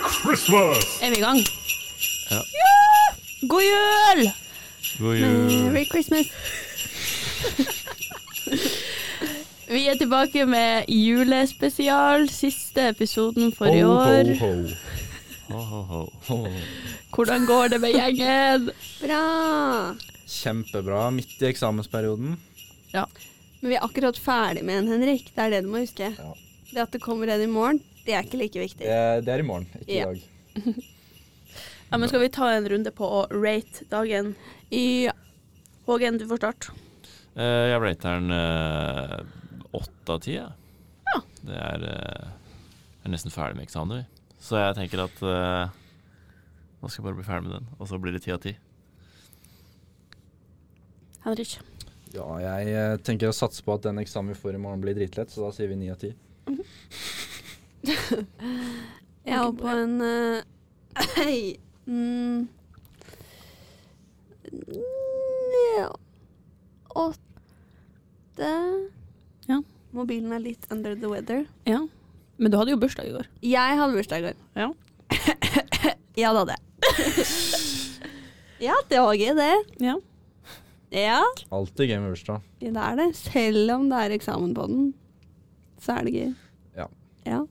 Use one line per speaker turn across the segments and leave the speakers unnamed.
Christmas!
Er vi i gang?
Ja.
God jul!
God jul.
Merry Christmas. vi er tilbake med julespesial, siste episoden for i år.
ho.
Ho, ho, ho.
Hvordan går det med gjengen?
Bra!
Kjempebra. Midt i eksamensperioden.
Ja.
Men vi er akkurat ferdig med en, Henrik. Det er det du må huske.
Ja.
Det at det kommer en i morgen, det er ikke like viktig.
Det er, Eh, det er i morgen, ikke i
Ja.
dag.
ja, men skal vi ta en runde på å rate dagen?
Ja.
Hågen, du får starte.
Eh, jeg rater den eh, åtte av ti. jeg.
Ja.
Det er, eh, jeg er nesten ferdig med eksamen, vi. Så jeg tenker at eh, nå skal jeg bare bli ferdig med den, og så blir det ti av ti.
Henrik.
Ja, jeg eh, tenker å satse på at den eksamen vi får i morgen blir dritlett, så da sier vi ni av ti.
Jeg var på en eh, Hei. Mm. Ja. Åtte
Ja.
Mobilen er litt under the weather.
Ja. Men du hadde jo bursdag i går.
Jeg hadde bursdag i går.
Ja.
ja, det hadde jeg. ja, det var gøy, det.
Ja.
Ja.
Alltid gøy med bursdag.
Det er det. Selv om det er eksamen på den, så er det gøy.
Ja.
Ja.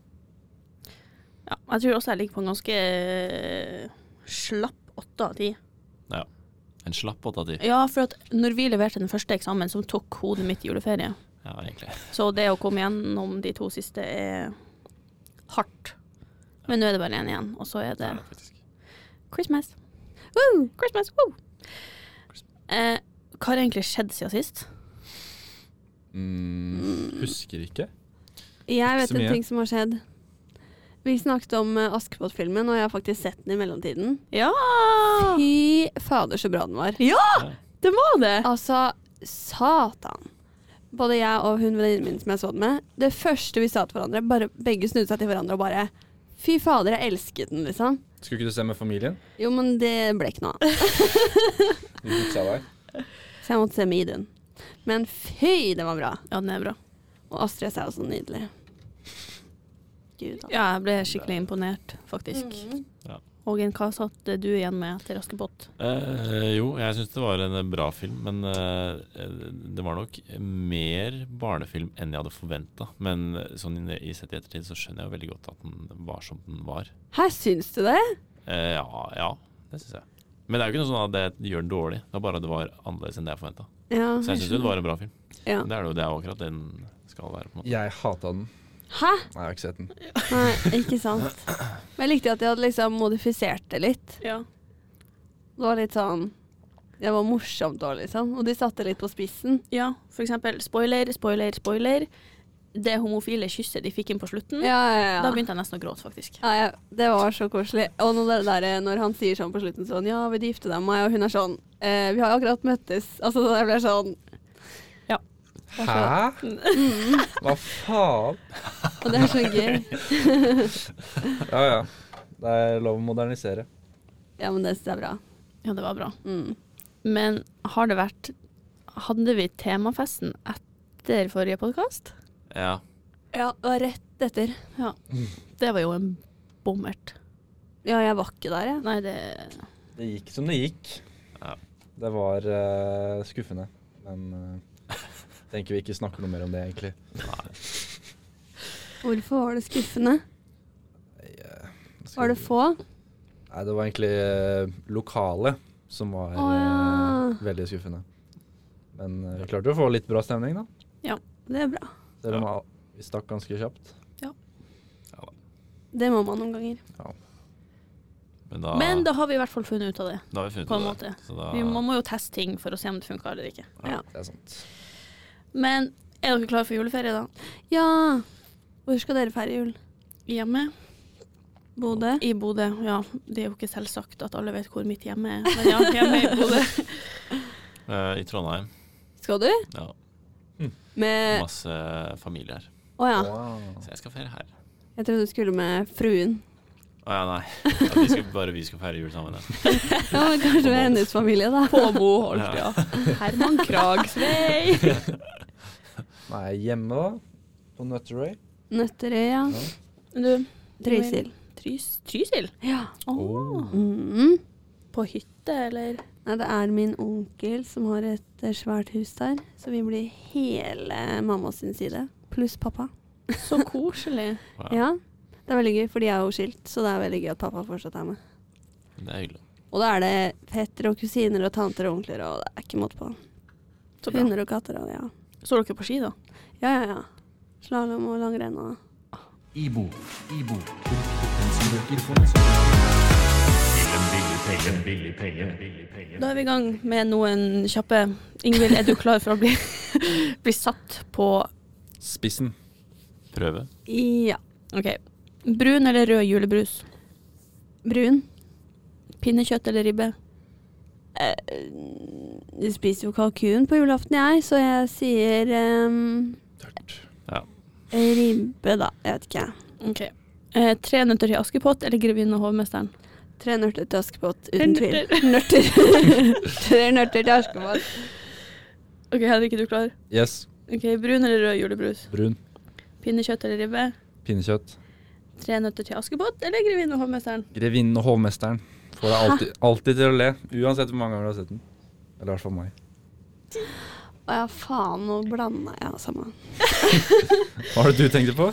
ja. Jeg tror også jeg ligger på en ganske eh, slapp åtte av ti.
Ja. En slapp åtte av ti.
Ja, for at når vi leverte den første eksamen, som tok hodet mitt i juleferie,
Ja, egentlig.
så det å komme gjennom de to siste er hardt. Men nå er det bare én igjen, og så er det
Ja, faktisk.
Christmas.
Woo!
Christmas, woo! Eh, hva har egentlig skjedd siden sist?
Mm, husker ikke.
Jeg
så
vet en
mye.
ting som har skjedd. Vi snakket om eh, Askepott-filmen, og jeg har faktisk sett den i mellomtiden.
Ja!
Fy fader, så bra den var.
Ja! Det var det!
Altså, satan. Både jeg og hun venninnen min som jeg så den med, det første vi sa til hverandre, bare begge snudde seg til hverandre og bare Fy fader, jeg elsket den, liksom.
Skulle ikke du se med familien?
Jo, men det ble ikke noe av.
Vi fiksa deg.
Så jeg måtte se med i den. Men fy, det var bra.
Ja, den er bra.
Og Astrid S er også nydelig. Gud, Mm. altså.
Ja, jeg ble skikkelig imponert, faktisk. Hågen, Mm. hva satt du igjen med etter Askepott?
Eh, jo, jeg syns det var en bra film, men eh, det var nok mer barnefilm enn jeg hadde forventa. Men sånn i, i sett i ettertid så skjønner jeg jo veldig godt at den var som den var.
Her syns du det?
Eh, ja, ja, det syns jeg. Men det er jo ikke noe sånn at det gjør den dårlig. Det er bare at det var annerledes enn det jeg forventa.
Ja.
Så jeg syns det var en bra film.
Ja.
Det er det jo det er jo akkurat det den skal være. på en måte.
Jeg hata den.
Hæ?
Nei, jeg har ikke sett den.
Nei, ikke sant. Men jeg likte at de hadde liksom modifisert det litt.
Ja.
Det var litt sånn Det var morsomt òg, liksom. Og de satte litt på spissen.
ja, for eksempel spoiler, spoiler, spoiler. Det homofile kysset de fikk inn på slutten.
Ja, ja,
Da
ja.
begynte jeg nesten å gråte, faktisk.
ja, ja det var så koselig. Og når, det der, når han sier sånn på slutten sånn Ja, vil du gifte deg med meg? Og hun er sånn eh, Vi har jo akkurat møttes. Altså, jeg ble sånn
Hæ? Hva faen?
Og det er så gøy.
Ja ja. Det er lov å modernisere.
Ja, men det syns jeg er bra.
Ja, det var bra.
Mm.
Men har det vært Hadde vi temafesten etter forrige podkast?
Ja.
Ja, og rett etter.
Det var jo en bommert.
Ja, jeg var ikke der, jeg.
Nei, det
Det gikk som det gikk.
Ja.
Det var eh, skuffende. Men eh, tenker vi ikke snakker noe mer om det, egentlig.
Hvorfor var det skuffende? Var det få?
Nei, det var egentlig eh, lokalet som var eh,
Å, ja.
veldig skuffende. Men eh, vi klarte å få litt bra stemning, da.
Det er bra.
Selv om al- vi stakk ganske kjapt.
Det må man noen ganger.
Men da,
Men da har vi i hvert fall funnet ut av det.
da har vi funnet
på en
ut av
måte.
det. Så da,
Vi, man må jo teste ting for å se om det funker eller ikke.
Det er sant.
Men er dere klare for juleferie, da?
Ja! Hvor skal dere feire jul?
Hjemme?
Bodø?
I Bodø, ja. Det er jo ikke selvsagt at alle vet hvor mitt hjemme er. Men ja, hjemme i Bodø.
Eh, I Trondheim.
Skal du?
Ja,
Med
masse familie her.
Å ja.
Wow.
Så jeg skal feire her.
Jeg trodde du skulle med fruen.
Å ja, nei. Ja, vi skal, bare vi skal feire jul sammen. Ja.
Ja, men Kanskje med hennes familie, da.
På Moholt, ja. Herman Kragsvei.
Nei, hjemme, da. På Nøtterøy.
Nøtterøy, ja.
Du,
Trysil.
Trys, Trysil?
Ja.
Oh.
Mm.
På hytte, eller?
Nei, det er min onkel som har et eh, svært hus der, så vi blir hele mamma sin side, pluss pappa.
Så koselig.
Wow,
Ja. Det er veldig gøy, for de er jo skilt, så det er veldig gøy at pappa fortsatt er med.
Det er hyggelig.
Og da er det fettere og kusiner og tanter og onkler, og det er ikke måte på.
Så bra.
Hunder og katter og ja.
Står dere på ski, da?
Ja, ja, ja. Slalåm og langrenn og
Ibo. Ibo.
Da er vi i gang med noen kjappe. Ingvild, er du klar for å bli, bli satt på
Spissen.
Prøve.
Ja.
OK. Brun eller rød julebrus?
Brun.
Pinnekjøtt eller ribbe?
Du Eh, spiser jo kalkun på julaften, jeg, så jeg sier ehm,
Tørt.
ribbe, da. Jeg vet ikke.
OK. Eh, tre nøtter til Askepott eller Grevinnen og hovmesteren?
Tre nøtter til Askepott,
Tre
uten tvil.
nøtter.
Nøtter. Tre nøtter til Askepott.
OK, Henrik, er du klar?
Yes.
Ok, Brun eller rød julebrus?
Brun.
Pinnekjøtt eller ribbe?
Pinnekjøtt.
Tre nøtter til Askepott eller Grevinnen og hovmesteren?
Grevinnen og hovmesteren får deg alltid, alltid til å le, uansett hvor mange ganger du har sett den. Eller i hvert fall meg.
Å ja, faen, nå blanda jeg altså, ja, samme.
Hva var det du tenkte på?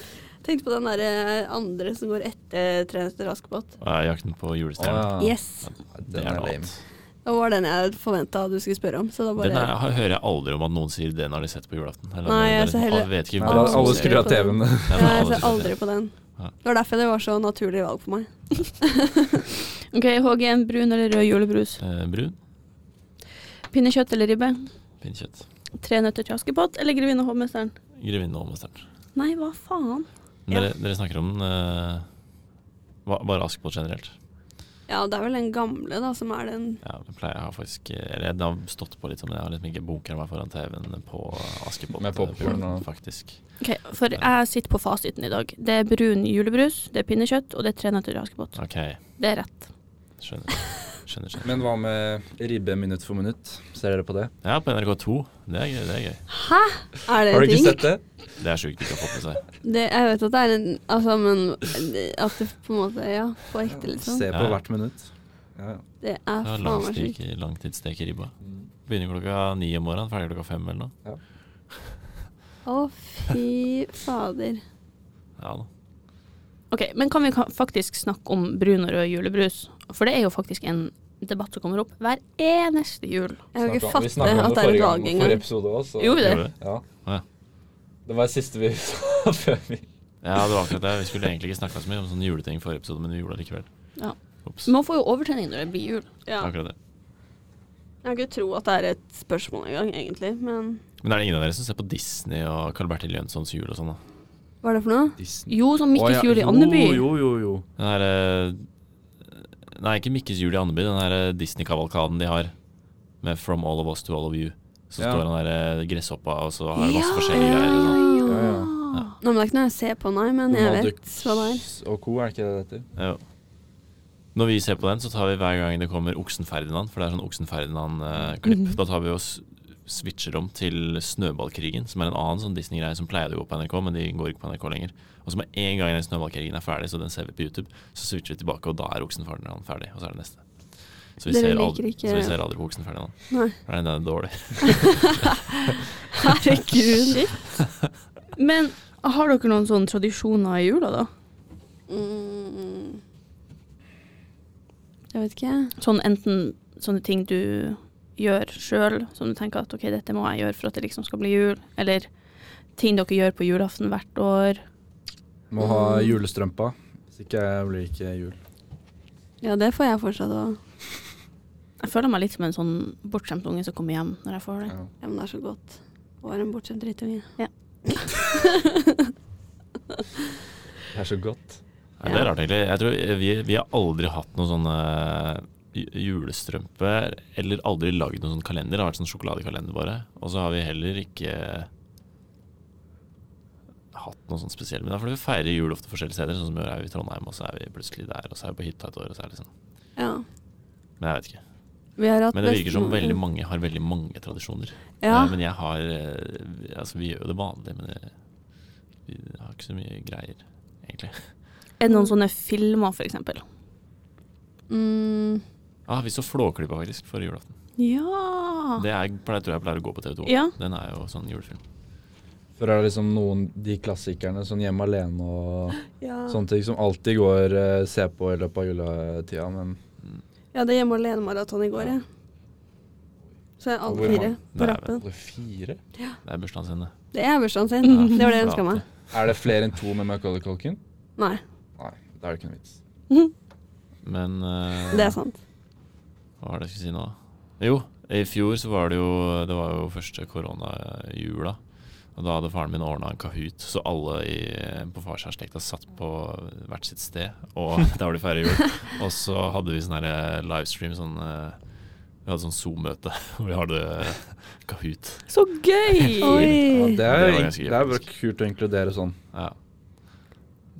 Tenkte på den derre andre som går etter Tre nøtter til Askepott.
Og jeg er jakten på julestjernen.
Yes.
Det
Den er
er noe
lame.
annet.
Det var den jeg forventa du skulle spørre om, så da bare
Den er, har- hører jeg aldri om at noen sier den har de sett på julaften. Eller,
Nei,
det er
jeg ser
liksom-
heller-
alle vet ikke
Nei,
hva
da-
som
alle
skjer.
skrur av TV-en.
Nei,
Ja,
men
jeg
alle
ser
skrur av
aldri på den.
Ja.
Det var derfor det var så naturlig valg for meg.
OK, HG1, brun eller rød julebrus?
Eh, Brun,
Pinnekjøtt eller ribbe?
pinnekjøtt,
Tre nøtter til Askepott eller Grevinnen og hovmesteren?
grevinne og mesteren.
Nei, hva faen? Ja.
Dere, dere snakker om den eh, ba- bare Askepott generelt.
Ja, det er vel den gamle da, som er den
Ja, jeg pleier jeg har faktisk Eller jeg har stått på litt sånn, men jeg har liksom ikke bunkra meg foran TV-en på Askepott.
Med popcorn
eh, på julaften,
og-
Faktisk.
Ok, For jeg sitter på fasiten i dag. Det er brun julebrus, det er pinnekjøtt og det er tre nøtter til Askepott.
Ok,
Det er rett.
skjønner. skjønner, skjønner.
Men hva med ribbe minutt for minutt? Ser dere på det?
Ja, på NRK2. Det er gøy. Det er, gøy.
Er det
Har
en
du ikke
ting?
sett det?
Det er sjukt de ikke har fått med seg.
Det, jeg vet at det er en Altså, men at det på en måte Ja, på ekte, liksom.
Se på
Ja.
hvert minutt. Ja, ja.
Det er faen
Det var
meg sjukt.
langsteke- Langtidsstek i ribba. Begynner klokka ni om morgenen, ferdig klokka fem eller noe.
Å, fy fader.
Ja da.
Ok, Men kan vi ka- faktisk snakke om brun og rød julebrus? For det er jo faktisk en debatt som kommer opp hver eneste jul.
Jeg har
Snakket om-
ikke
vi
fattet
snakket om
at det er et
forrige
valg
gang-
engang.
Forrige episode også. så-
Gjorde vi det?
Gjorde det?
Ja.
Ja.
Det var det siste vi sa før vi
Ja, det var akkurat det. Vi skulle egentlig ikke snakka så mye om sånne juleting i forrige episode, men vi gjorde det likevel.
Ja.
Ops.
Man får jo overtenning når det blir jul.
Ja.
Akkurat det.
Jeg har ikke tro at det er et spørsmål engang, egentlig, men
Men er det ingen av dere som ser på Disney og Carl Bertil Jønssons jul og sånn, da?
Hva er det for noe?
Disney.
Jo, som Mikkes jul i Andeby.
Jo, jo, jo.
Den her eh, Nei, ikke Mikkes jul i Andeby, den her eh, Disney-kavalkaden de har med From All of Us to All of You. Så
Ja.
står han der eh, gresshoppa, og så har han masse forskjellige
ja,
greier. Og sånn.
ja.
Ja, ja.
Nei, men det er ikke noe jeg ser på, nei, men Sånn, jeg
Donald
vet hva det er.
Ducks Og co., er det ikke det det heter?
Jo. Når vi ser på den, så tar vi hver gang det kommer Oksen Ferdinand, for det er sånn Oksen Ferdinand-klipp.
Mhm.
Da tar vi og s- switcher om til Snøballkrigen, som er en annen sånn Disney-greie som pleide å gå på NRK, men de går ikke på NRK lenger. Og så med en gang den Snøballkrigen er ferdig, så den ser vi på YouTube, så switcher vi tilbake, og da er Oksen Ferdinand ferdig, og så er det neste. Så vi,
Dere
ser
liker
aldri,
ikke-
så vi ser aldri på Oksen Ferdinand.
Nei.
For Den er dårlig.
Herregud. Men har dere noen sånne tradisjoner i jula, da?
Mm. Jeg vet ikke.
Sånn enten sånne ting du gjør sjøl, som du tenker at OK, dette må jeg gjøre for at det liksom skal bli jul, eller ting dere gjør på julaften hvert år.
Må ha
Mm.
julestrømpa. Hvis ikke blir det ikke jul.
Ja, det får jeg fortsatt å
Jeg føler meg litt som en sånn bortskjemt unge som kommer hjem når jeg får det.
Ja.
Ja, men det er så godt å være en bortskjemt drittunge.
Det er så godt.
Nei, det er rart, egentlig. Jeg tror vi, vi har aldri hatt noen sånne eh, ju- julestrømper, eller aldri lagd noen sånn kalender. Det har vært sånn sjokoladekalender bare. Og så har vi heller ikke hatt noe sånn spesielt. Men det er fordi vi feirer jul ofte forskjellige steder. Sånn som i år er vi i Trondheim, og så er vi plutselig der, og så er vi på hytta et år, og så er det liksom
Ja.
Men jeg vet ikke.
Vi har hatt
Men det virker som
bestemor-
veldig mange har veldig mange tradisjoner.
Ja.
Eh, Men jeg har eh, Altså, vi gjør jo det vanlige, men det, vi har ikke så mye greier, egentlig.
Er det noen sånne filmer, for eksempel?
Mm,
Ah, vi så Flåklypa faktisk forrige julaften.
Ah.
Ja.
Det er, pleier, tror jeg pleier å gå på TV 2.
Ja.
Den er jo sånn julefilm.
For er det liksom noen de klassikerne sånn hjemme alene og
ja.
sånne ting som alltid går eh, se på i løpet av juletida, men
ja, det er hjemme alene-maraton i går, jeg. Så jeg er alle
Hvor
fire
mange?
Det
på
er
rappen.
Alle fire?
Det er bursdagen sin, det.
Det er bursdagen sin.
Ja,
Mm, Det var det jeg ønska
flate.
meg.
Er det flere enn to med Macaulay Culkin?
Nei,
Nei, da er det ikke noe vits.
Men eh,
det er sant.
hva var det jeg skulle si nå? Jo, i fjor så var det jo Det var jo første koronajula. Og da hadde faren min ordna en kahoot, så alle i, på farsherslekta satt på hvert sitt sted. Og der var de feira jul. Og så hadde vi sånn her livestream, sånn eh, Vi hadde sånn Zoom-møte hvor vi hadde kahoot.
Så gøy!
Ja,
Oi!
det
Det
er,
var
det
ganske
det er bare
faktisk.
kult å inkludere sånn.
Ja.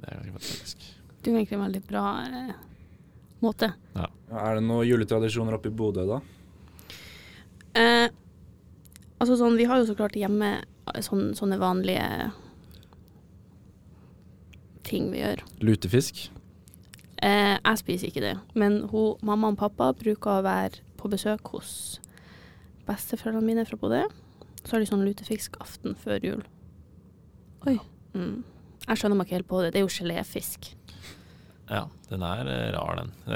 Det er ganske fantastisk.
Det er egentlig en veldig bra eh, måte.
Ja, Er det noen juletradisjoner oppe i Bodø, da?
Eh, altså sånn, vi har jo så klart hjemme eh, sånn, sånne vanlige ting vi gjør.
Lutefisk.
Eh, jeg spiser ikke det, men hun, mamma og pappa bruker å være på besøk hos besteforeldrene mine fra Bodø. Så har de sånn lutefiskaften før jul.
Oi.
Mm. Jeg skjønner meg ikke helt på det. Det er jo geléfisk.
Ja, den er eh, rar, den. Eh,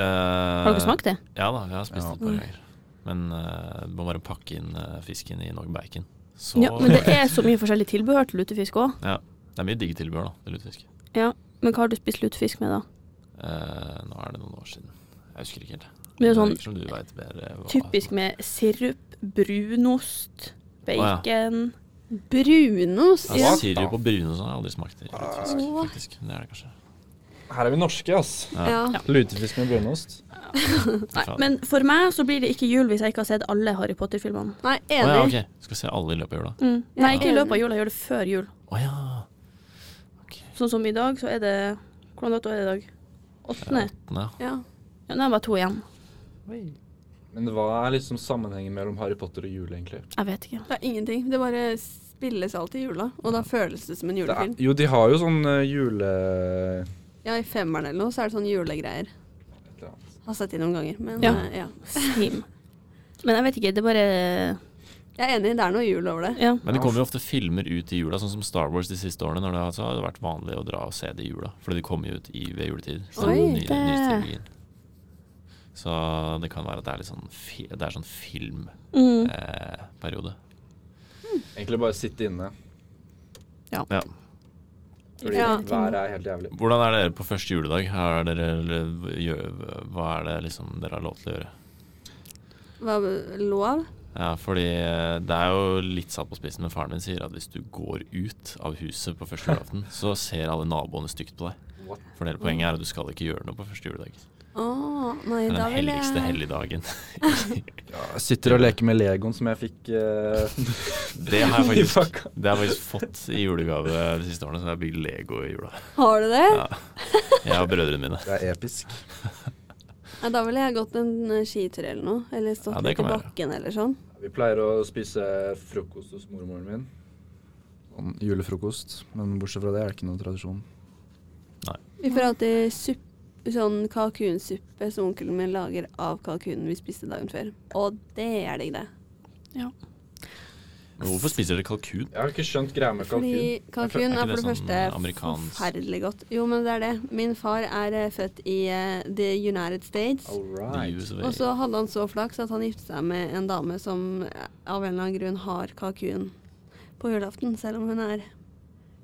Har dere smakt Mm. det?
Ja da, jeg har spist
Ja.
det et par ganger. Men eh, du må bare pakke inn eh, fisken i nok bacon. Så
Ja, men det er så mye forskjellig tilbehør til lutefisk òg.
Det er mye digge tilbehør, da, til lutefisk.
Men hva har du spist lutefisk med, da?
Eh, nå er det noen år siden. Jeg husker ikke helt.
Det er jo sånn
virker som du vet bedre. hva-
typisk med sirup, brunost,
ja.
bacon
Brunost.
Ja,
Ja.
Sirup og brunost har jeg aldri smakt i lutefisk, faktisk. Men Det er det kanskje.
Ah, Her er vi norske, ass.
Ja.
Lutefisk med brunost.
Nei, men for meg så blir det ikke jul hvis jeg ikke har sett alle Harry Potter-filmene.
Nei,
Å ja,
enig.
ok. Skal se alle i løpet av jula.
Nei, ikke i løpet av jula, jeg gjør det før jul.
Å ja.
Sånn som i dag, så er det Hvordan dato er det i dag? Åttende?
Nei.
Ja.
Ja, nå er det bare to igjen.
Men hva er liksom sammenhengen mellom Harry Potter og jul, egentlig?
Jeg vet ikke.
Det er ingenting. Det bare spilles alltid i jula, og da føles det som en
Det er,
julefilm.
jo, de har jo sånn eh, jule...
Ja, i femmeren eller noe, så er det sånn julegreier.
et eller annet.
Har sett det noen ganger, men
Ja.
eh, ja.
Sim. Men jeg vet ikke, det er bare
Jeg er enig, det er noe jul over det.
Ja.
Men det kommer jo ofte filmer ut i jula, sånn som Star Wars de siste årene. Når det har, så har det vært vanlig å dra og se det i jula, fordi de kommer jo ut i, ved juletid. Så
Oi,
den nye-
det-
nye trilogien. Så det kan være at det er litt sånn, fi, det er sånn filmperiode.
Mm.
Eh, periode.
Egentlig bare sitte inne.
ja.
Fordi
Ja.
været er helt jævlig.
Hvordan er dere på første juledag? Har dere, eller gjør- hva er det liksom dere har lov til å gjøre?
Hva lov?
Ja, fordi eh, det er jo litt satt på spissen, men faren min sier at hvis du går ut av huset på første julaften, så ser alle naboene stygt på deg.
What?
For hele poenget er at du skal ikke gjøre noe på første juledag.
Å, nei,
Det er
da
den
vil jeg
helligste helligdagen.
Ja, jeg sitter og leker med Legoen som jeg fikk eh,
Det har
i
jeg faktisk,
pakka.
det har jeg faktisk fått i julegave de siste årene, så jeg har bygd Lego i jula.
Har du det?
Ja. Jeg og brødrene mine.
Det er episk.
Nei, da ville jeg gått en eh, skitur eller noe. Eller stått
Ja, det
litt i
kan være.
bakken eller sånn.
Vi pleier å spise frokost hos mormoren min. Sånn julefrokost. Men bortsett fra det er det ikke noen tradisjon.
Vi får alltid supp, sånn kalkunsuppe som onkelen min lager av kalkunen vi spiste dagen før. Og det er digg, det.
Men Hvorfor spiser dere kalkun?
Jeg har ikke skjønt greia med kalkun.
Fordi
Er
kalkun er
ikke det
for det
sånn
første
amerikansk-
forferdelig godt. Jo, men det er det. Min far er eh, født i eh, The United States.
All
The
right.
US of A.
Og så hadde han så flaks at han giftet seg med en dame som eh, av en eller annen grunn har kalkun på julaften, selv om hun er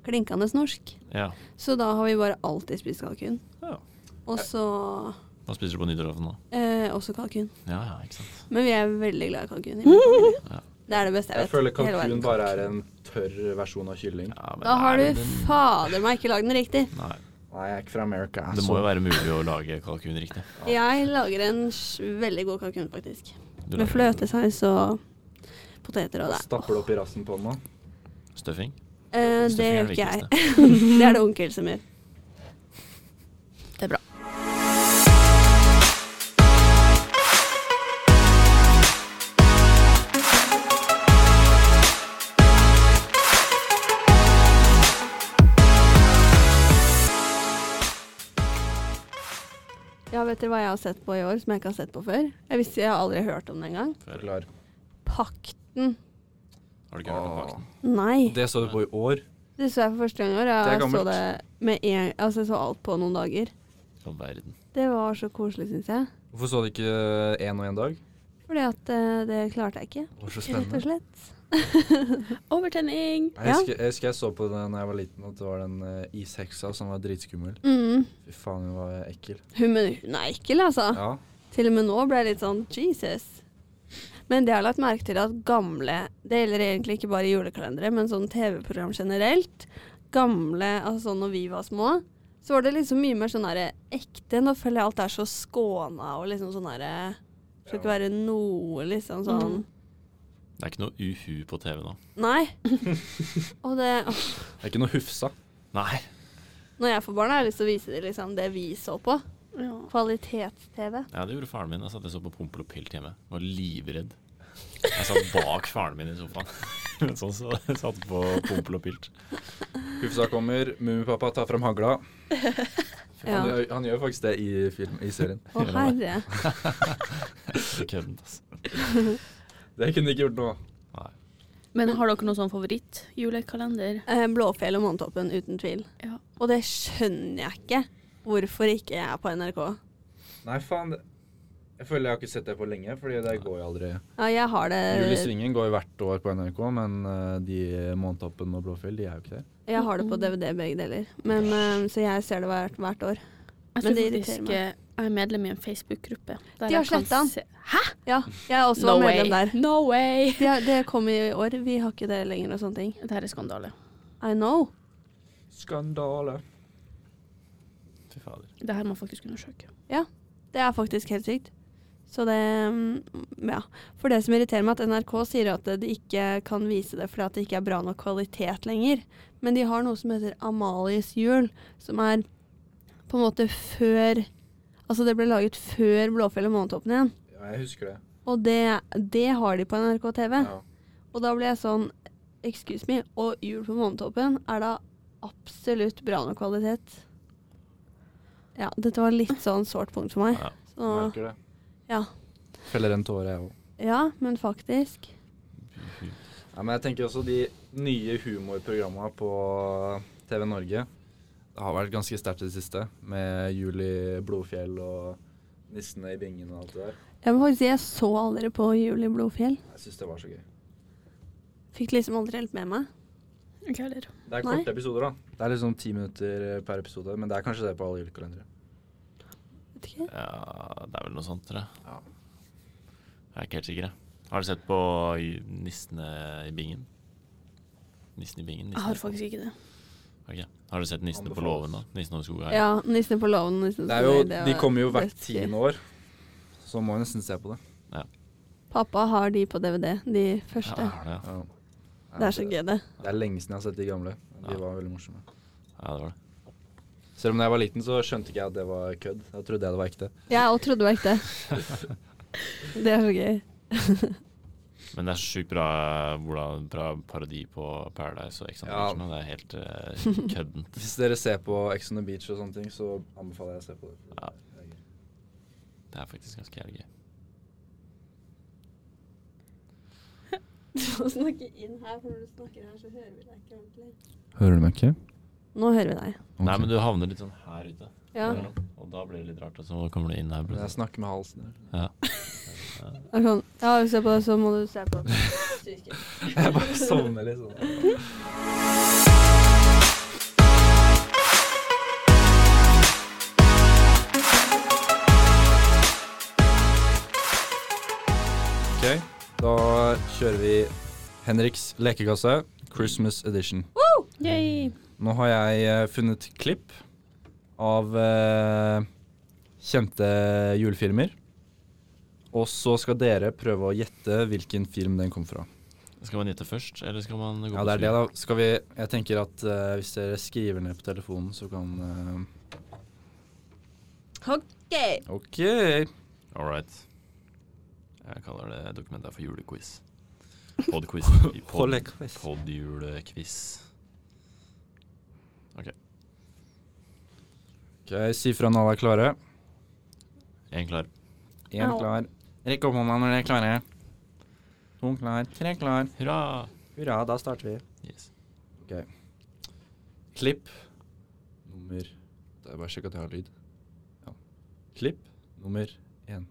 klinkende norsk.
Ja.
Så da har vi bare alltid spist kalkun.
Ja.
Og så
Hva spiser du på nyttårsaften da?
eh, også kalkun.
Ja, ja, ikke sant.
Men vi er veldig glad i kalkun. i min familie.
Ja.
Det er det beste jeg
Jeg
vet.
føler
i hele verden.
kalkun bare er en tørr versjon av kylling.
Ja, men
Da har
er
du
det-
fader meg ikke lagd den riktig.
Nei,
Nei, jeg er ikke fra America.
det må jo være mulig å lage kalkun riktig.
Jeg lager en s- veldig god kalkun, faktisk.
Du
Med
lager
fløtesaus og poteter og det.
Stapper det opp i rassen på den nå.
Stuffing?
Eh, det
Stuffing er
gjør
det
ikke jeg.
viktigste.
det er det onkel som gjør.
Det er bra.
etter hva jeg har sett på i år som jeg ikke har sett på før. Jeg visste jeg har aldri hørt om det engang.
Har
Forklar.
Pakten.
du ikke hørt om
Åh.
Pakten?
Nei.
Det så du på i år.
Det så jeg for første gang i år.
Det er
Jeg så
gammelt.
det med en Altså, jeg så alt på noen dager.
I all verden.
Det var så koselig, syns jeg.
Hvorfor så du ikke én og én dag?
Fordi at eh, det klarte jeg ikke,
Det var så
rett og
spennende.
slett.
Overtenning!
Jeg husker, jeg husker jeg så på det da jeg var liten, at det var den eh, isheksa som var dritskummel.
Mm.
Fy faen, hun var ekkel.
Hun, men hun er ekkel, altså.
Ja.
Til og med nå ble jeg litt sånn Jesus. Men det jeg har lagt merke til at gamle Det gjelder egentlig ikke bare julekalendere, men sånn TV-program generelt. Gamle Altså sånn når vi var små, så var det liksom mye mer sånn derre ekte. Nå føler jeg alt er så skåna og liksom sånn derre Skal ikke være noe liksom sånn
Mm.
Det er ikke noe uhu på TV nå.
Nei. Og det åh,
Det er ikke noe hufsa.
Nei.
Når jeg får barn, har jeg lyst til å vise dem liksom det vi så på.
Ja.
Kvalitets-TV.
Ja, det gjorde faren min. Jeg satt og så på Pompel og Pilt hjemme. Var livredd. Jeg satt bak faren min i sofaen. Mens han så- satt på Pompel og Pilt.
Hufsa kommer, Mummipappa tar fram hagla.
Ja.
Han, gjør- han gjør faktisk det i, film, i serien.
Å herre.
Det er køddent, altså.
Det kunne de ikke gjort nå.
Nei.
Men har dere noen sånn favorittjulekalender?
Eh, Blåfjell og Månetoppen, uten tvil.
Ja.
Og det skjønner jeg ikke. Hvorfor ikke jeg er på NRK.
Nei, faen. det- Jeg føler jeg har ikke sett det på lenge, fordi det går jo aldri.
Ja, jeg har
Jul i
det,
Svingen går jo hvert år på NRK, men eh, de Månetoppen og Blåfjell, de er jo ikke der.
jeg har det på DVD begge deler. Men, eh, så jeg ser det hvert, hvert år.
Jeg
Men
tror
det irriterer
faktisk eh, jeg er medlem i en Facebook-gruppe. der
De har
jeg kan
slettet den.
se-
Ja, jeg er også
No
medlem
way.
der.
No way!
Ja, det kom i år. Vi har ikke det lenger og sånne ting.
Dette er skandale.
I know.
Skandale.
Fy fader.
Dette må jeg faktisk undersøke.
Det er faktisk helt sykt. Så det mm, Ja. For det som irriterer meg, at NRK sier at de ikke kan vise det fordi at det ikke er bra nok kvalitet lenger. Men de har noe som heter Amalies jul, som er på en måte før Altså det ble laget før Blåfjell og Månetoppen igjen.
Ja, jeg husker det.
Og det, det har de på NRK TV.
Ja.
Og da ble jeg sånn Excuse me, og Jul på Månetoppen er da absolutt bra nok kvalitet. Ja, dette var litt sånn sårt punkt for meg.
Ja.
Så,
Merker det.
ja.
Feller en tåre, jeg òg.
Ja, men faktisk.
Uhu.
Ja, men jeg tenker også de nye humorprogrammene på TV Norge Det har vært ganske sterkt i det siste, med jul i Blodfjell og nissene i bingen og alt det der.
Jeg må faktisk si jeg så aldri på Jul i Blodfjell.
Jeg syns det var så gøy.
Fikk liksom aldri helt med meg.
Ikke heller.
Det er
Nei.
korte episoder, da. Det er liksom ti minutter per episode, men det er kanskje det på alle julekalendere.
Vet ikke.
Ja, det er vel noe sånt, tror jeg.
Ja.
Jeg er ikke helt sikker. jeg. Har du sett på i- Nissene i bingen? Nissen i bingen?
Jeg
Nissen
har
i-
faktisk ikke det.
Ok. Har du sett Nissene på
Anbefales.
låven, da? Nissene over skogen?
Ja, Nissene på låven. Nissene
Det
på
er jo,
låven, det
de
var
kommer jo hvert
dødsgøy.
tiende år, så må jeg nesten se på det.
Pappa har de på DVD, de
Ja,
første.
er det, ja.
Ja.
Det er så gøy, det.
Det er lenge siden jeg har sett de gamle. De
Ja.
var veldig morsomme.
ja, det var det.
Selv om da jeg var liten, så skjønte ikke jeg at det var kødd. Da trodde jeg det var ekte.
Jeg òg trodde det var ekte. Det er så gøy.
Men det er så sjukt bra, hvordan- bra parodi på Paradise og Ex on the
Ja.
Beach nå. Det er helt eh, køddent.
Hvis dere ser på Ex on the Beach og sånne ting, så anbefaler jeg å se på det. for
Ja.
det er gøy.
Det er faktisk ganske jævlig gøy.
Du må snakke inn her, for når du snakker her, så hører vi deg ikke ordentlig.
Hører du meg ikke?
Nå hører vi deg.
Nei, men du havner litt sånn her ute.
Ja.
innimellom, Og da blir det litt rart, og så kommer du inn her.
Jeg
plutselig.
snakker med halsen. her.
Ja.
Er sånn, ja, hvis du ser på det, så må du se på psyken.
Jeg bare sovner litt sånn. Ok, da kjører vi Henriks lekekasse, Christmas edition.
Yay.
Nå har jeg eh, funnet klipp av eh, kjente julefilmer. Og så skal dere prøve å gjette hvilken film den kom fra.
Skal man gjette først, eller skal man gå
Ja,
på
det er det,
fyr?
da. Skal vi Jeg tenker at eh, hvis dere skriver ned på telefonen, så kan eh,
OK.
OK.
All right. Jeg kaller det dokumentet her for julequiz. Podquiz. I pod- Podjulequiz.
Ok, Si fra når alle er klare.
Én klar.
Én
Au.
klar. Rekk opp hånda når dere er klare. To klar, tre klar.
Hurra!
Hurra, da starter vi.
Yes.
Klipp nummer Det er bare å sjekke at jeg har lyd. Ja. Klipp nummer én.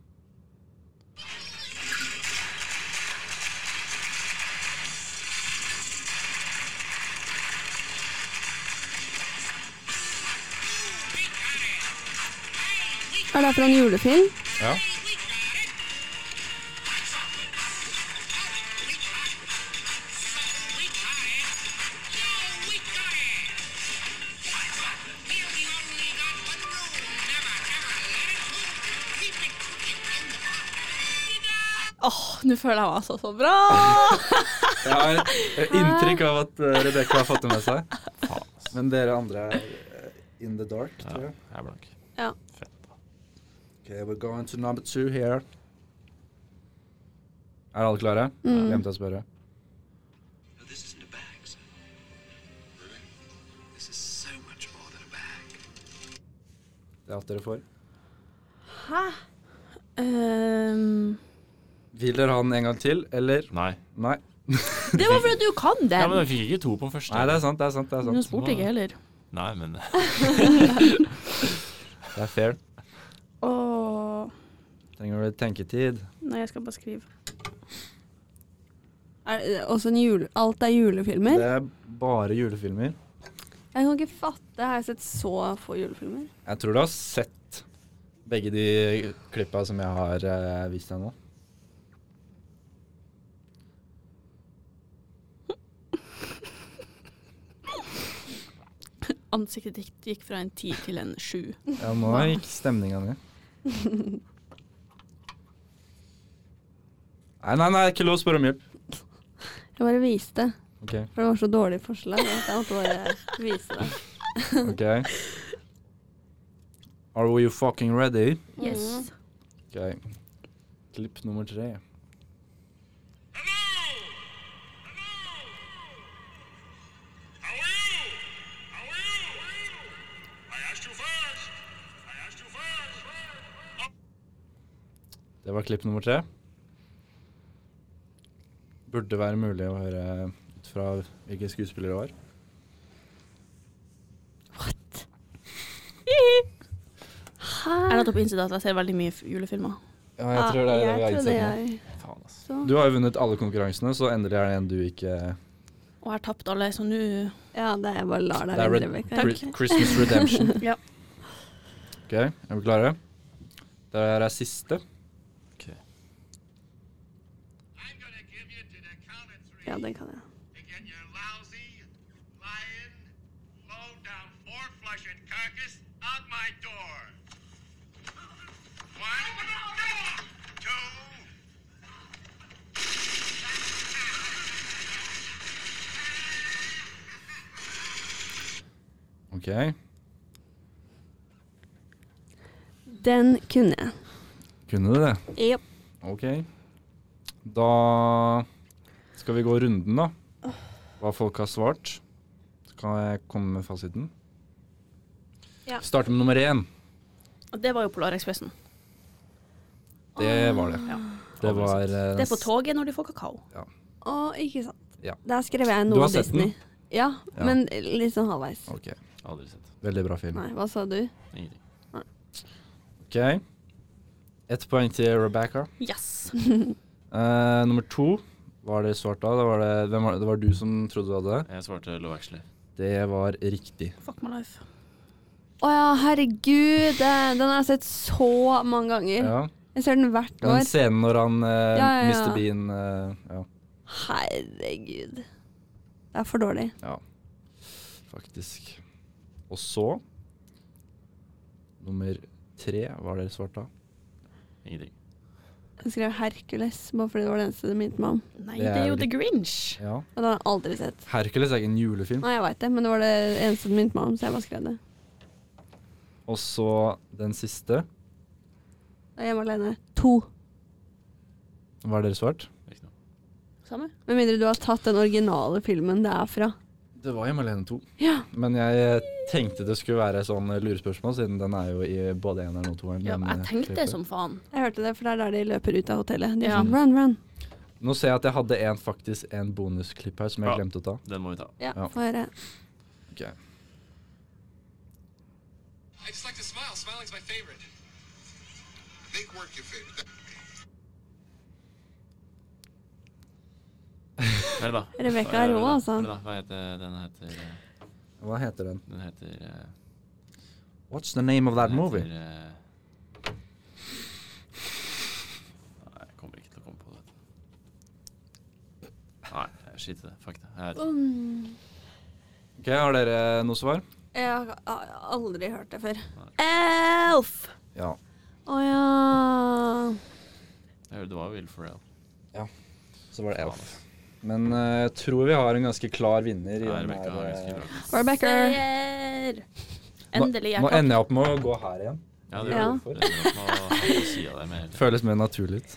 Er det fra en julefilm?
Ja.
Åh, nå føler jeg meg altså så bra!
Jeg har eh, inntrykk av at Rebekka har fått det med seg.
Faen, ass.
Men dere andre er eh, in the dark,
Ja,
tror jeg.
jeg er blank.
Ja.
Fett. da.
Okay, we're going to number two here. Er alle klare?
Mm.
Glemte å spørre.
No, this isn't a bag, sir. Really? This is so much more than a bag.
Det er alt dere får.
Ehm,
Vil dere ha den en gang til, eller?
Nei.
Nei.
det var fordi du kan den!
Ja, men jeg fikk ikke to på første.
Nei, det er sant, det er sant. Det er,
Hun
sant.
spurte ikke heller.
Nei, men
Det er fair.
Åh,
Trenger du litt tenketid?
nei, jeg skal bare skrive.
Er det også en jule... Alt er julefilmer?
Det er bare julefilmer.
Jeg kan ikke fatte. Jeg har sett så få julefilmer.
Jeg tror du har sett begge de klippa som jeg har eh, vist deg nå.
Ansiktet ditt gikk fra en ti til en sju.
Ja, nå gikk stemninga ned. Nei, nei, nei, ikke lov å spørre om hjelp.
Jeg bare viste,
OK.
for det var så dårlig forslag. at Jeg måtte bare vise det.
ok Are we fucking ready?
Yes.
OK. Klipp nummer tre. Det var klipp nummer tre. Burde være mulig å høre ut fra hvilke skuespillere det var.
Jeg la opp Insta at jeg ser veldig mye f- julefilmer.
Ja, jeg tror det er det vi har innsett nå.
faen, ass.
Så.
Du har jo vunnet alle konkurransene, så endelig er det en du ikke
Og jeg har tapt alle, så nå
Ja, det er jeg bare lar deg
Det er
vinne,
red-
Rebekka.
Chri- Christmas Redemption.
Ja.
OK, er vi klare? Det her er siste.
Ok.
Ja, det kan jeg.
Carcass out my door. One, two,
OK.
Den kunne jeg.
Kunne du det?
Yep.
OK. Da skal vi gå runden, da. Hva folk har svart. Så kan jeg komme med fasiten.
Ja.
Starte med nummer én.
Og det var jo Polarekspressen.
Det var det.
Ja.
Det var eh,
Det er på toget når de får kakao.
Å, ikke sant.
Ja.
Der skrev jeg
Du
noe
har sett
Disney.
den?
Ja,
Ja.
men litt sånn halvveis.
OK.
Aldri sett.
Veldig bra film.
Nei, hva sa du?
Ingenting.
OK. Ett poeng til Rebecca.
Yes.
Eh, nummer to var det svart av. Det var, det, hvem var, det? det var du som trodde du hadde det.
Jeg svarte Love Actually.
Det var riktig.
Fuck my life.
Å ja, herregud. eh, Den har jeg sett så mange ganger.
Ja.
Jeg ser den hvert
Den
år.
scenen når han eh,
Ja, ja, ja.
Mr. Bean eh, Ja,
Herregud. Det er for dårlig.
faktisk. Og så Nummer tre var det svart av.
Ingenting.
Jeg skrev Hercules bare fordi det var det eneste det minnet meg om.
Nei,
Det
det
er
er jo
jo
The Grinch.
Ja.
Og den har jeg aldri sett.
Hercules er ikke en julefilm.
Nei, jeg veit det, men det var det eneste det minnet meg om, så jeg bare skrev det.
Og så den siste.
Og Hjemme alene. To.
Var dere svart?
Ikke noe.
Samme.
Med mindre du har tatt den originale filmen det er fra.
Det var jo Malene 2.
Ja.
Men jeg eh, tenkte det skulle være sånn lurespørsmål, siden den er jo i både eneren og toeren.
Ja,
den,
jeg
eh,
tenkte
klipper.
det som faen.
Jeg hørte det, for det er der de løper ut av hotellet. De er
Ja.
sånn run, run.
Nå ser jeg at jeg hadde en, faktisk en bonusklipp her som jeg
Ja.
glemte å ta.
Den må vi ta.
Ja,
Ja.
få høre.
I just like to smile. Smiling's my favorite. Make work your favorite.
Hva er det da?
Rebecca
Hva er det
Rå,
da?
altså.
Hva er det da? Hva
Hva heter
heter den? heter eh,
den?
Den heter eh,
What's the name of that
den
movie?
heter, eh, Nei, jeg kommer ikke til å komme på det. Nei, jeg skiter i det. Fuck det. Jeg vet ikke.
Ok, Har dere noe svar?
Um, Jeg har jeg har aldri hørt det før.
Elf!
Ja.
Å ja.
Jeg hørte det var Will Ferrell.
Så var det Elf. Men eh, jeg tror vi har en ganske klar vinner. i
Nei,
den
Rebecca har ganske
her, eh,
bra.
Rebecca.
Seier! Endelig. Jeg
Nå
kan
ender jeg opp med å gå her igjen.
Ja, det
Ja.
er det. Det er nok å- å si av deg med hele tiden.
Føles mer naturlig ut.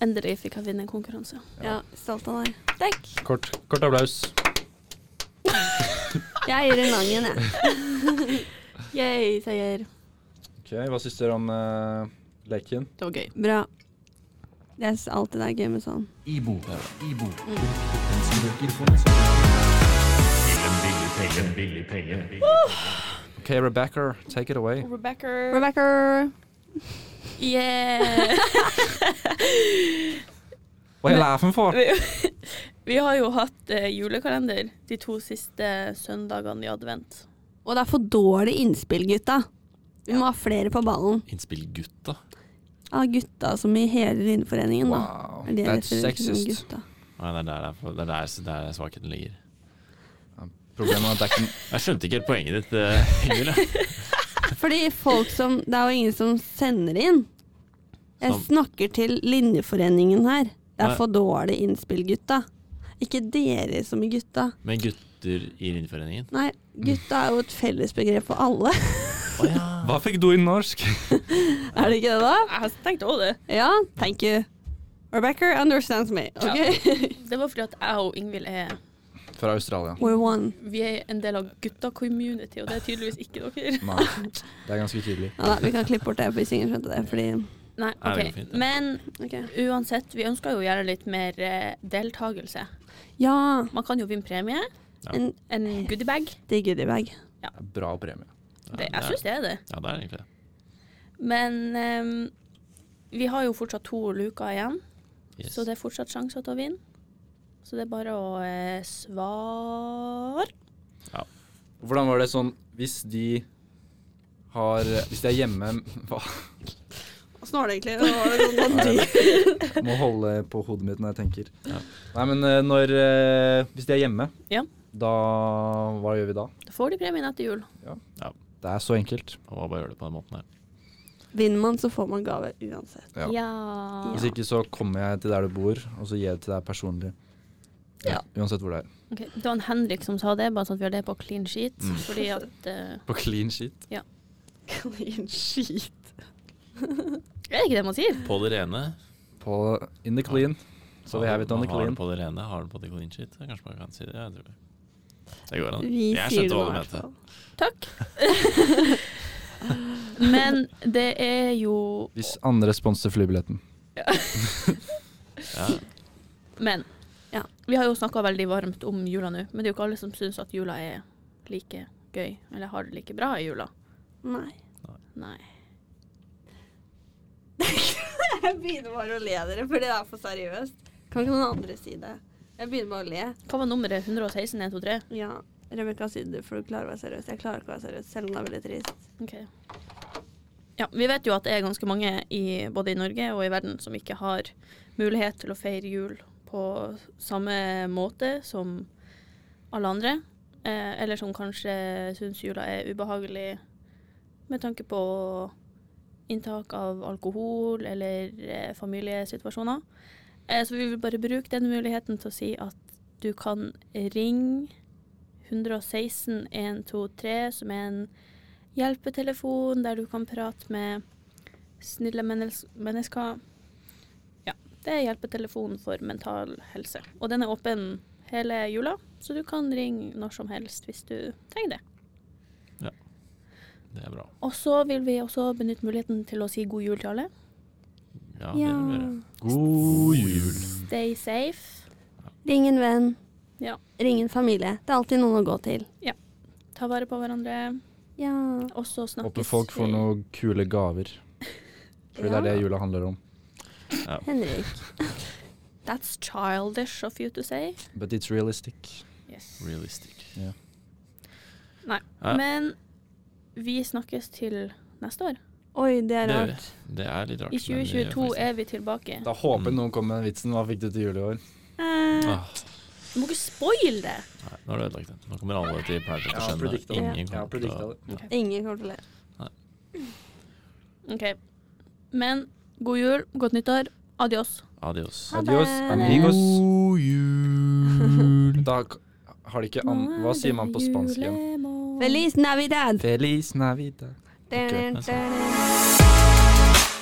Endelig fikk jeg vinne en konkurranse.
ja. Stolt av deg. Takk.
Kort, kort applaus.
Jeg gir en lang en, jeg.
Yay, seier.
Ok, Hva syns dere om eh, leken?
Det var gøy.
Bra. Det er alltid det er gøy med sånn.
Ibo. Ibo.
Mm.
Den som bruker fondet.
Ok, Rebecca, take it away.
Rebecca.
Rebecca!
Yeah!
Hva er jeg laughing for?
vi, vi har jo hatt eh, julekalender de to siste søndagene i advent.
Og det er for dårlig innspill, gutta. Vi må ha flere på ballen.
Innspill gutta.
Av gutta som i hele Linneforeningen, da.
Wow,
Er det jeg
that's
refererer til som
sexist.
gutta?
Nei, det er der, det er- det er der, det er der svakheten ligger.
Problemet er at det er ikke
Jeg skjønte ikke helt poenget ditt, eh, Ingvild. jeg.
Fordi folk som Det er jo ingen som sender inn. Jeg
Som-
snakker til Linjeforeningen her. Det
Nei.
er for dårlig innspill, gutta. Ikke dere som i gutta.
Men gutter i Rinneforeningen.
Nei, gutta er jo et fellesbegrep for alle.
Å ja.
Hva fikk du i norsk?
er det ikke det, da?
Jeg har tenkt òg det.
Ja, thank you. Rebecca understands me. ok?
Det var fordi at jeg og Ingvild er
Fra Australia.
We're one.
Vi er en del av gutta-community, og det er tydeligvis ikke dere.
Nei, det er ganske tydelig.
Ja, da, vi kan klippe bort det hvis ingen skjønte det. Fordi
Nei,
Nei, det går
ok.
fint, det.
Men
Ok.
uansett, vi ønsker jo å gjøre litt mer eh, deltakelse.
Ja,
Man kan jo vinne premie.
Ja.
en
En goodiebag.
digg goodiebag.
Bra premie.
Det- Jeg syns det er det.
Ja, det er egentlig det.
Men ehm, vi har jo fortsatt to luker igjen,
Yes.
så det er fortsatt sjanser til å vinne. Så det er bare å eh, svare.
Hvordan var det sånn hvis de har Hvis de er hjemme hva?
Åssen var det egentlig? Det var det sånn at du-
Må holde på hodet mitt når jeg tenker.
Ja.
Nei, men eh, når eh, Hvis de er hjemme,
Ja.
da Hva gjør vi da?
Da får de premien etter jul.
Det er så enkelt.
Og hva bare gjør det på den måten her.
Vinner man, så får man gave uansett.
Ja. Altså-
Ja.
Hvis ikke så kommer jeg til der du bor, og så gir jeg det til deg personlig.
Ja.
Uansett hvor det er.
Ok, Det var en Henrik som sa det, bare sånn at vi har det på clean sheet. Fordi at eh,
På clean shit.
Clean sheet.
Er det ikke det man sier?
På det rene.
På in the clean. Så vi
har-
er vidt on the
Har
clean.
den på det rene, har den på the clean sheet. Kanskje man kan si det. Jeg tror det. Det går an.
Vi
jeg
sier det
skjønte hva
nå, i
du
hvert
mente.
fall.
Takk. Men det er jo
Hvis andre sponser flybilletten.
Ja.
Men.
Ja.
Vi har jo snakka veldig varmt om jula nå, men det er jo ikke alle som syns at jula er like gøy, eller har det like bra i jula.
Nei.
Nei.
Jeg begynner bare å le dere, fordi det er for seriøst. Kan ikke noen andre si det? Jeg begynner bare å le.
Hva var nummeret? 116 123?
Ja, Rebekka si det, for du klarer å være seriøs. Jeg klarer ikke å være seriøs, selv om det er veldig trist.
OK. Ja, vi vet jo at det er ganske mange i, både i Norge og i verden som ikke har mulighet til å feire jul på samme måte som alle andre. Eh, eller som kanskje syns jula er ubehagelig med tanke på inntak av alkohol eller eh, familiesituasjoner. Eh, så vi vil bare bruke den muligheten til å si at du kan ringe 116 123, som er en hjelpetelefon der du kan prate med snille mennes mennesker. Ja, det er hjelpetelefonen for mental helse. Og den er åpen hele jula, så du kan ringe når som helst hvis du trenger det.
Det er bra.
Og så vil vi også benytte muligheten til å si god jul til alle.
Ja, det vil vi gjøre.
God jul.
Stay safe.
Ring en venn.
Ja.
Ring en familie. Det er alltid noen å gå til.
Ta vare på hverandre.
Ja.
Og så snakkes
Håper folk får
vi-
noen kule gaver. For det
Ja.
er det jula handler om.
Henrik.
That's childish of you to say.
But it's realistic.
Yes.
Realistic.
Ja.
Nei.
Ja.
Men vi snakkes til neste år.
Oi, det er
Det er
rart.
Det er litt rart.
I
men vi gjør
2022
faktisk
er vi tilbake.
Da håper jeg noen kommer med den vitsen. Hva fikk du til jul i år?
det.
Eh,
Ah,
du må ikke spoil det!
nei, nå har du ødelagt det. Nå kommer alle til Pride
Jeg
til å
har
skjønne.
predicta
det.
Ingen
Jeg har
kommer til
predicta
å
det.
Ingen kommer til å le.
OK. Men god jul, godt nyttår. Adios.
Adios.
Ha det.
Adios, amigos.
God jul.
Da k- har de ikke an... Hva sier man på spansk igjen?
Feliz Navidad!
Feliz Navidad.
Da, da, da, da.